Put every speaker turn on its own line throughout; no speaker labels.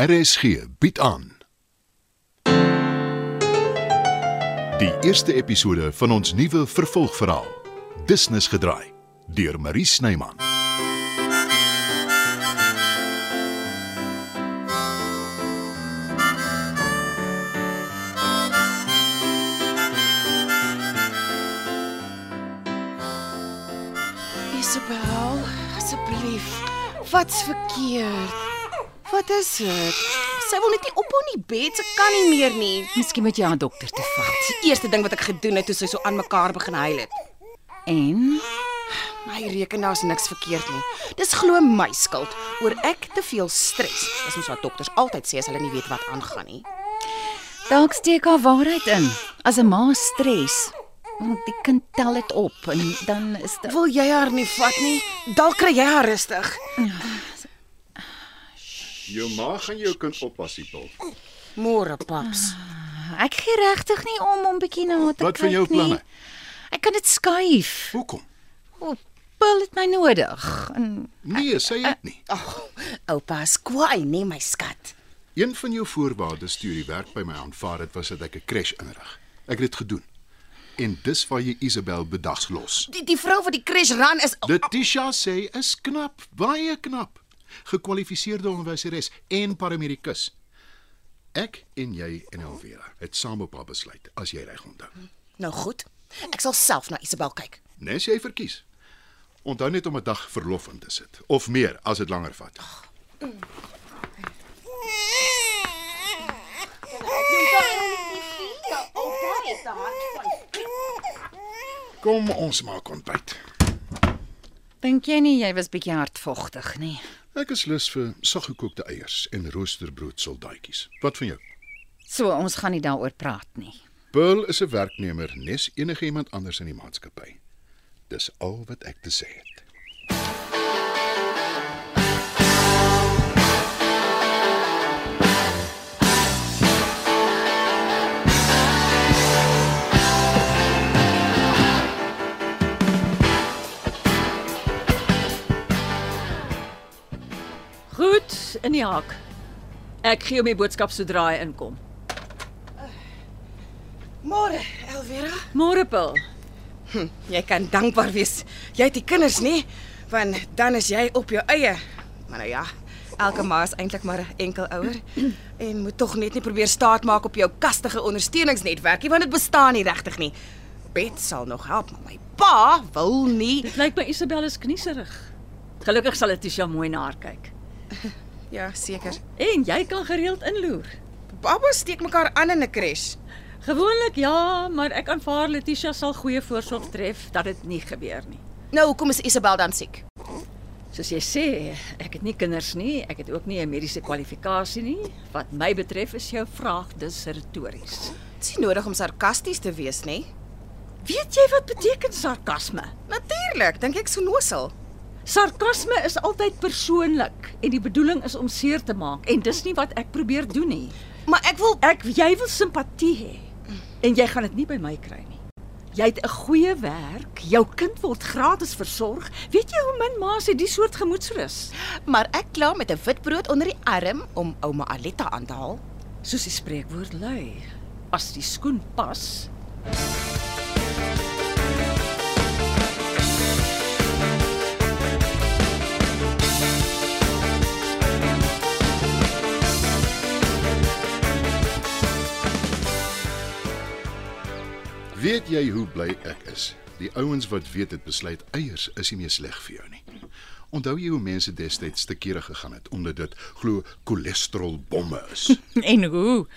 RSG bied aan. Die eerste episode van ons nuwe vervolgverhaal, Business gedraai, deur Marie Snyman.
Isabel, asseblief. Wat's verkeerd? Wat is dit? Sy wil net nie ophou nie, bed, sy kan nie meer nie.
Miskien moet jy aan 'n dokter toe vat.
Die eerste ding wat ek gedoen het toe sy so aan mekaar begin huil het.
En
My reken daar's niks verkeerd nie. Dis glo my skuld oor ek te veel stres. Dis mos wat dokters altyd sê as hulle nie weet wat aangaan nie.
dalk steek haar waarheid in. As 'n ma stres, want die kind tel dit op en dan is dit
Wil jy haar nie vat nie? Dalk kry jy haar rustig.
Jou ma gaan jou kind oppas, Siepel.
Môre, paps.
ek gee regtig nie om om bietjie na haar te kyk
Wat van jou
nie.
planne?
Ek kan dit skuif.
Hoekom?
O, pil het my nodig. En
Nee, sê dit nie.
Ag, oupa is kwaai, nee my skat.
Een van jou voorwaardes toe jy die werk by my aanvaar het, was dat ek 'n crash inrig. Ek het dit gedoen. En dis waar jy Isabel bedags los.
Die die vrou wat die crash ran is
Letitia sê is knap, baie knap. Gekwalifiseerde onderwyseres en paramedikus. Ek en jy en Elvira het saam op haar besluit, as jy reg onthou.
Nou goed. Ek sal self na Isabel kyk.
Nes jy Nee, verkies. Onthou net om 'n dag verlof in te sit of meer as dit langer vat. Kom ons maak ontbyt.
dink jy nie jy was bietjie hardvogtig nie?
Ek is lus vir saggekookte eiers en roosterbrood soldaatjies. Wat van jou?
So ons gaan nie daaroor praat nie.
Pearl is 'n werknemer, nes enige iemand anders in die maatskappy. Dis al wat ek te sê het.
Goed, in die hak. Ek gee hom die boodskap sodra hy inkom.
Môre, Elvira.
Môre pil.
Jy kan dankbaar wees. Jy het die kinders, nê? Want dan is jy op jou eie. Maar nou ja, elke ma is eintlik maar 'n enkel ouer en moet tog net nie probeer staatmaak op jou kastige ondersteuningsnetwerkie want dit bestaan nie regtig nie. Bet sal nog help, maar my pa wil nie.
Dit lyk my Isabel is knieserig. Gelukkig sal Letitia mooi na haar kyk.
Ja, seker.
En jy kan gereeld inloer.
Babba steek mekaar aan in 'n crash.
Gewoonlik ja, maar ek aanvaar Letitia sal goeie voorsorg tref dat dit nie gebeur nie.
Nou, hoekom is Isabel dan siek?
Soos jy sê, ek het nie kinders nie, ek het ook nie 'n mediese kwalifikasie nie. Wat my betref is jou vraag dus retories.
Dit is nie nodig om sarkasties te wees, nê?
Weet jy wat beteken sarkasme?
Natuurlik, dink ek so nosel.
Sarkasme is altyd persoonlik en die bedoeling is om seer te maak en dis nie wat ek probeer doen nie.
Maar ek wil
Ek jy wil simpatie hê en jy gaan dit nie by my kry nie. Jy het 'n goeie werk, jou kind word gratis versorg. Weet jy hoe min ma's het die soort gemoedsrus?
maar ek kla met 'n wit brood onder die arm om ouma Aletta aan te haal.
Soos die spreekwoord lui, as die skoen pas,
Weet jy hoe bly ek is? Die ouens wat weet dit besluit eiers is nie meer sleg vir jou nie. Onthou jy hoe mense destyds te kere gegaan het omdat dit glo cholesterolbomme is?
En hoe?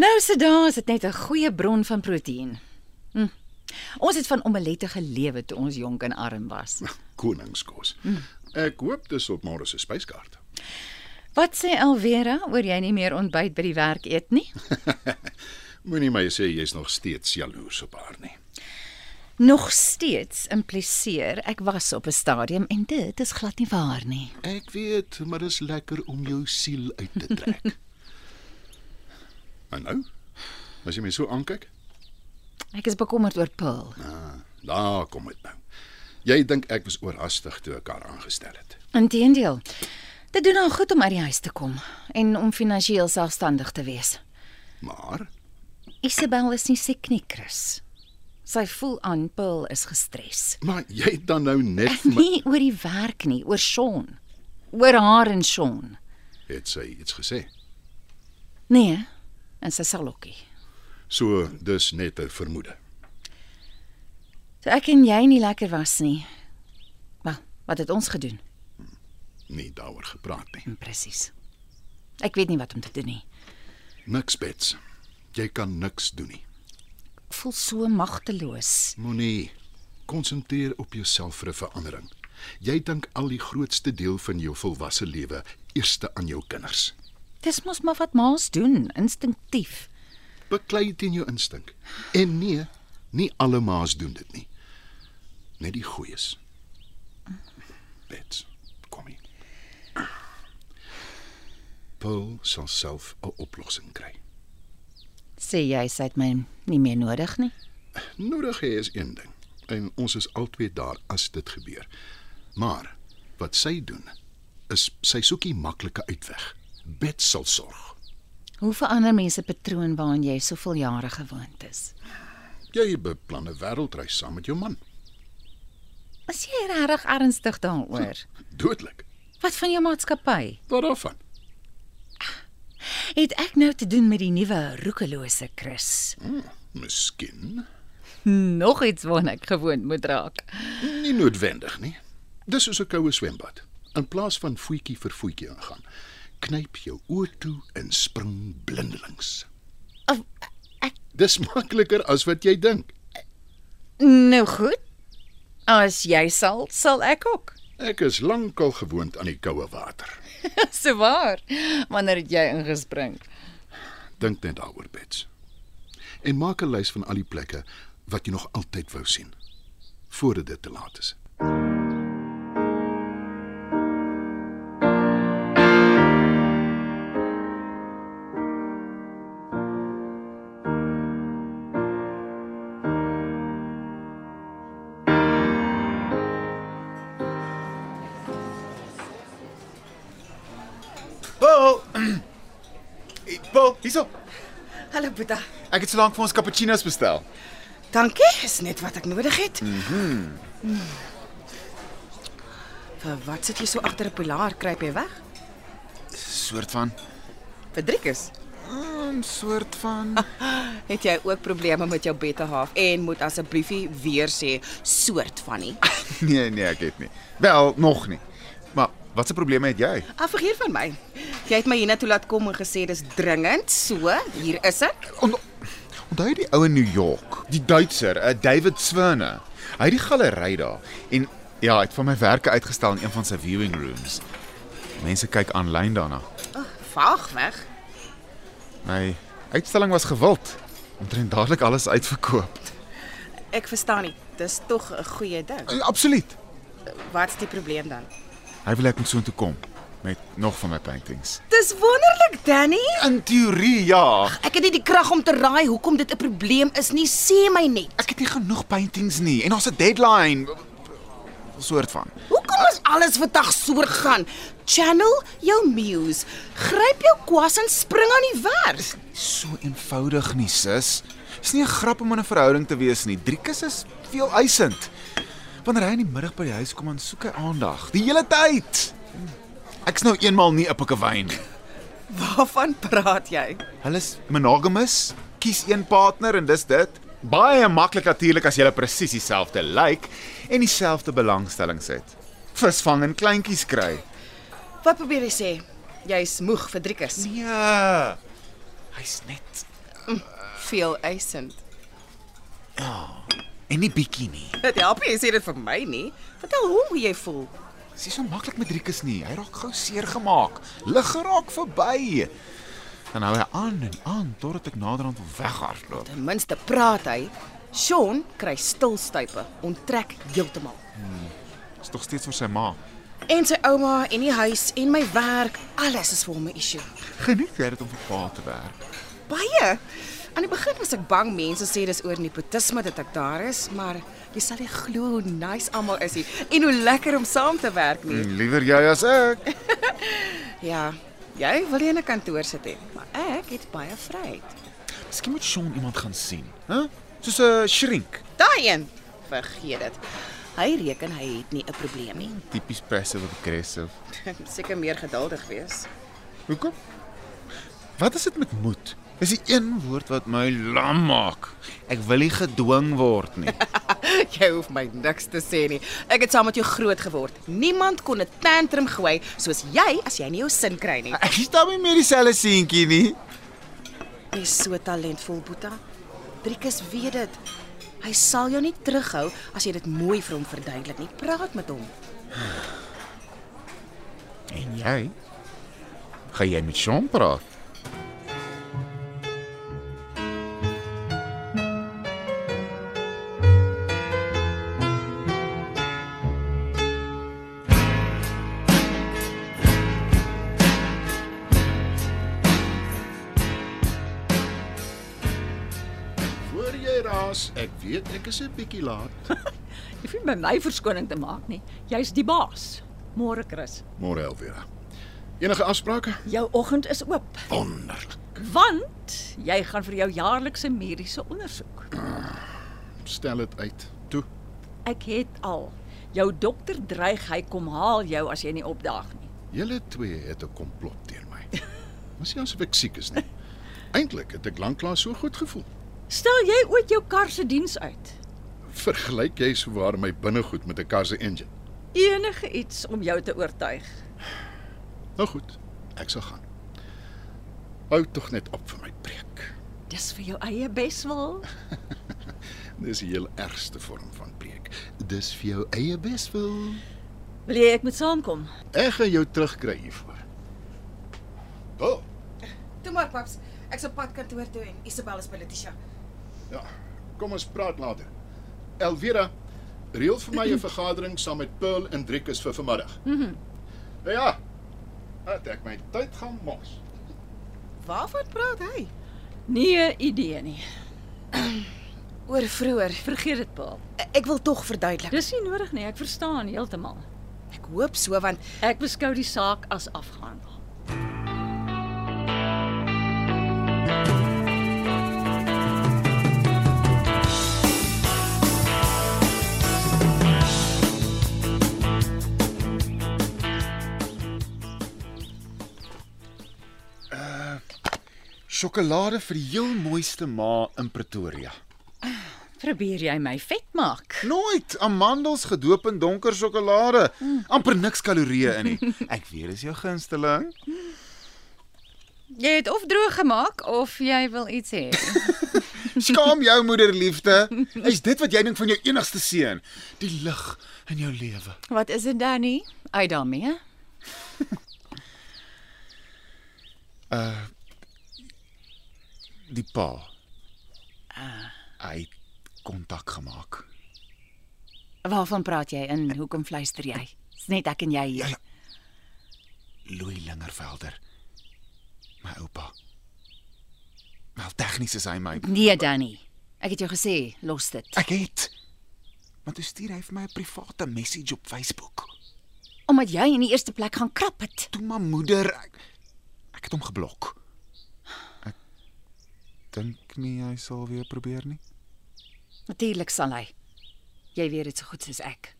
Nou se daar is dit net 'n goeie bron van proteïen. Hm. Ons het van omelette gelewe toe ons jonk en arm was.
Koningskos. Ek hoop dis op môre se spyskaart.
Wat sê Alvera oor jy nie meer ontbyt by die werk eet nie?
Moenie my sê jy's nog steeds jaloers op haar nie.
Nog steeds impliseer ek was op 'n stadium en dit is glad nie waar nie.
Ek weet, maar dis lekker om jou siel uit te trek. en nou? As jy my so aankyk, Ah,
Ek is bekommerd oor Paul
daar kom dit nou. Jy dink ek was oorhaastig toe ek haar aangestel het.
Inteendeel. Dit doen haar goed om uit die huis te kom en om finansiëel selfstandig te wees.
Maar
Isabel is nie siek nie, Chris. Sy voel aan Paul is gestres.
maar jy het dan nou net vir my
Nie oor die werk nie, oor Sean. Oor haar en Sean.
het sy iets gesê.
Nee, en sy sal ookie.
So dis net 'n vermoede.
So ek en jy nie lekker was nie. Wel, wat het ons gedoen?
Nie daaroor gepraat nie.
Mm, Presies. Ek weet nie wat om te doen nie.
Niks bets. Jy kan niks doen nie.
Ek voel so magteloos.
Moenie konsentreer op jouself vir 'n verandering. Jy dink al die grootste deel van jou volwasse lewe eerste aan jou kinders.
Dis mos maar wat ma's doen, instinktief.
Beklei teen jou instink. En nee, nie alle ma's doen dit nie. Net die goeies. Bets, kom hier. Paul sal self 'n oplossing kry.
Sê jy sy het my nie meer nodig nie?
Nodig hê is een ding en ons is albei daar as dit gebeur. Maar wat sy doen is sy soek die maklike uitweg. Bet sal sorg.
Hoe verander mense patroon waaraan jy soveel jare gewoond is?
Jy beplan 'n wêreldreis saam met jou man.
Is jy regtig ernstig daaroor?
Doodlik.
Wat van jou maatskappy?
Wat daarvan?
Het ek nou te doen met die nuwe roekelose Chris?
Hm, Miskien
Nog iets waarna ek gewoond moet raak.
nie noodwendig nie. Dis soos 'n koue swembad. In plaas van voetjie vir voetjie ingaan, knyp jou oë toe en spring blindelings.
Of,
Dis makliker as wat jy dink.
Nou goed. As jy sal, sal ek ook.
Ek is lankal gewoond aan die koue water.
So waar. Wanneer het jy ingespring?
Dink net daaroor, Bets. En maak 'n lys van al die plekke wat jy nog altyd wou sien voordat dit te laat is.
Paul. Paul, hierso.
Hallo Boeta.
Ek het solank vir ons cappuccinos bestel.
Dankie, is net wat ek nodig het. Mhm. Vir wat sit jy so agter 'n pilaar? Kruip jy weg?
Soort van,
Vir driekus.
'n soort van.
Het jy ook probleme met jou betterhalf en moet asseblief nie weer sê soort van nie.
Nee, nee, ek het nie. Wel, nog nie. Maar wat se probleme het jy?
Af vergeet van my. Jy het my hiernatoe laat kom en gesê dis dringend, so hier is ek.
On Onthou jy die ou in New York, die Duitser, uh, David Swirne. Hy het die galery daar en ja, hy het van my werke uitgestel in een van sy viewing rooms. Mense kyk aanlyn daarna.
Oh, vaag weg.
My uitstalling was gewild. Omtrent dadelik alles uitverkoop.
Ek verstaan nie. Dis tog 'n goeie ding.
Uh, Absoluut.
Wat's die probleem dan?
Hy wil ek moet soontoe kom met nog van my paintings.
Dis wonderlik, Danny.
In teorie ja.
Ek het nie die krag om te raai hoekom dit 'n probleem is nie. Sê my net.
Ek het nie genoeg paintings nie en ons het 'n deadline. Soort van.
Hoekom is alles vandag so gaan? Channel jou muse. Gryp jou kwas en spring aan die werk.
So eenvoudig nie, sis. Dis nie 'n grap om in 'n verhouding te wees nie. Driekus is veel eisend. Wanneer hy in die middag by die huis kom, dan soek hy aandag die hele tyd. Ek's nou eenmal nie 'n pikkewyn nie.
Waarvan praat jy?
Hulle is monogamous, kies een partner en dis dit. Baie maklik natuurlik as jy presies dieselfde lyk like en dieselfde belangstellings het. Visvang en kleintjies kry.
Wat probeer jy sê? Jy's moeg vir driekus.
Nee. Hy's net
Veel eisend.
en nie bietjie nie.
Dit help nie jy sê dit vir my nie. Vertel hom hoe jy voel.
Dis nie so maklik met Rikus nie. Hy raak gou seer gemaak. Lig geraak verby. Dan hou hy aan en aan totdat ek naderhand wil weghardloop.
Ten minste praat hy. Sean kry stilstype, onttrek heeltemal.
Dis nog steeds vir sy ma.
En sy ouma en die huis en my werk, alles is vir hom 'n issue.
Geniet jy dit om vir pa te werk?
Baie. Aan die begin was ek bang mense sê dis oor nepotisme dat ek daar is, maar jy sal nie glo hoe nice almal is hier en hoe lekker om saam te werk nie.
Liewer jy as ek.
Ja, jy wil nie in 'n kantoor sit hê, maar ek het baie vryheid.
Miskien moet Sean iemand gaan sien, hè? Soos 'n shrink.
Daai een, vergeet dit. Hy reken hy het nie 'n probleem nie.
Tipies passive aggressive.
Seker meer geduldig wees.
Hoekom? Wat is dit met moed? Dis die een woord wat my lam maak. Ek wil nie gedwing word nie.
Jy hoef my niks te sê nie. Ek het saam met jou groot geword. Niemand kon 'n tantrum gooi soos jy as jy nie jou sin kry nie.
Ek staan nie meer dieselfde seentjie nie.
Jy's so talentvol, Boeta. Driekus weet dit. Hy sal jou nie terughou as jy dit mooi vir hom verduidelik nie. Praat met hom.
En jy? Gaan jy met Sean praat?
Voor jy raas, ek weet ek is 'n bietjie laat.
Jy hoef nie by my verskoning te maak nie. Jy's die baas. Môre, Chris.
Môre Elvira. Enige afsprake?
Jou oggend is oop,
Wonderlik.
want jy gaan vir jou jaarlikse mediese ondersoek.
Stel dit uit. Toe.
Ek het al. Jou dokter dreig hy kom haal jou as jy nie opdaag nie.
Julle twee het 'n komplot teen my. Moes jy asof ek siek is nie. Eintlik het ek lanklaas so goed gevoel.
Stel jy ooit jou kar se diens uit?
Vergelyk jy souwaar my binnegoed met 'n kar se engine.
Enige iets om jou te oortuig.
Nou goed, ek sal gaan. Hou tog net op vir my preek.
Dis vir jou eie beswil.
Dis die heel ergste vorm van preek. Dis vir jou eie beswil.
Wil jy ek moet saamkom?
Ek gaan jou terugkry hiervoor. Oh,
Toe maar, paps. Ek's op pad kantoor toe en Isabel is by Letitia.
ja. Kom ons praat later. Elvira, reël vir my 'n vergadering saam met Pearl en Driekus vir vanmiddag. Mhm. Nou ja. Laat ek my tyd gaan mors.
Waarvan praat hy?
Nee, idee nie.
Oor vroeër.
Vergeet dit, Paul.
Ek wil tog verduidelik.
Dis nie nodig nie, ek verstaan heeltemal.
Ek hoop so want
Ek beskou die saak as afgehandel.
Sjokolade vir die heel mooiste ma in Pretoria.
Probeer jy my vet maak?
Nooit amandels gedoop in donker sjokolade. amper niks kalorieë in nie. Ek weet dis jou gunsteling.
Jy het of droog gemaak of jy wil iets hê.
Skaam jou moederliefde. Is dit wat jy dink van jou enigste seun? Die lig in jou lewe.
Wat is dit dan nie? Uit daarmee.
Die pa. Hy het kontak gemaak.
Waarvan praat jy en hoekom fluister jy? Dis net ek en jy hier.
Louis Lingervelder. My oupa. Wel tegnies is hy my.
Nee, Danny. Ek het jou gesê, los dit.
Ek het. Maar toe stuur hy vir my 'n private message op Facebook.
Omdat jy in die eerste plek gaan krap het.
Toe maar moeder, ek, ek het hom geblok. Ek dink nie hy sal weer probeer nie.
Natuurlik sal hy. Jy weet dit so goed soos ek.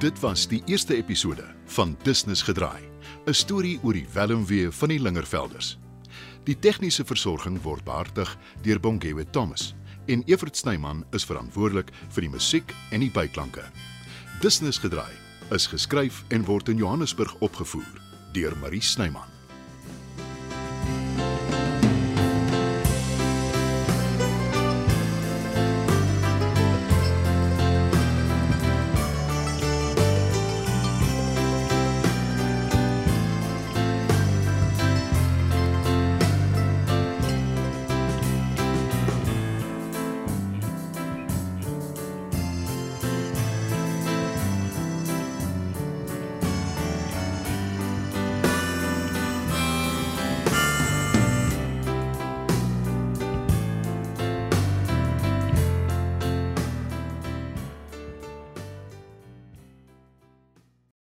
Dit was die eerste episode van Business Gedraai, 'n storie oor die welmwee van die Lingervelders. Die tegniese versorging word behartig deur Bongwe Thomas en Evert Snyman is verantwoordelik vir die musiek en die byklanke. Business Gedraai is geskryf en word in Johannesburg opgevoer deur Marie Snyman.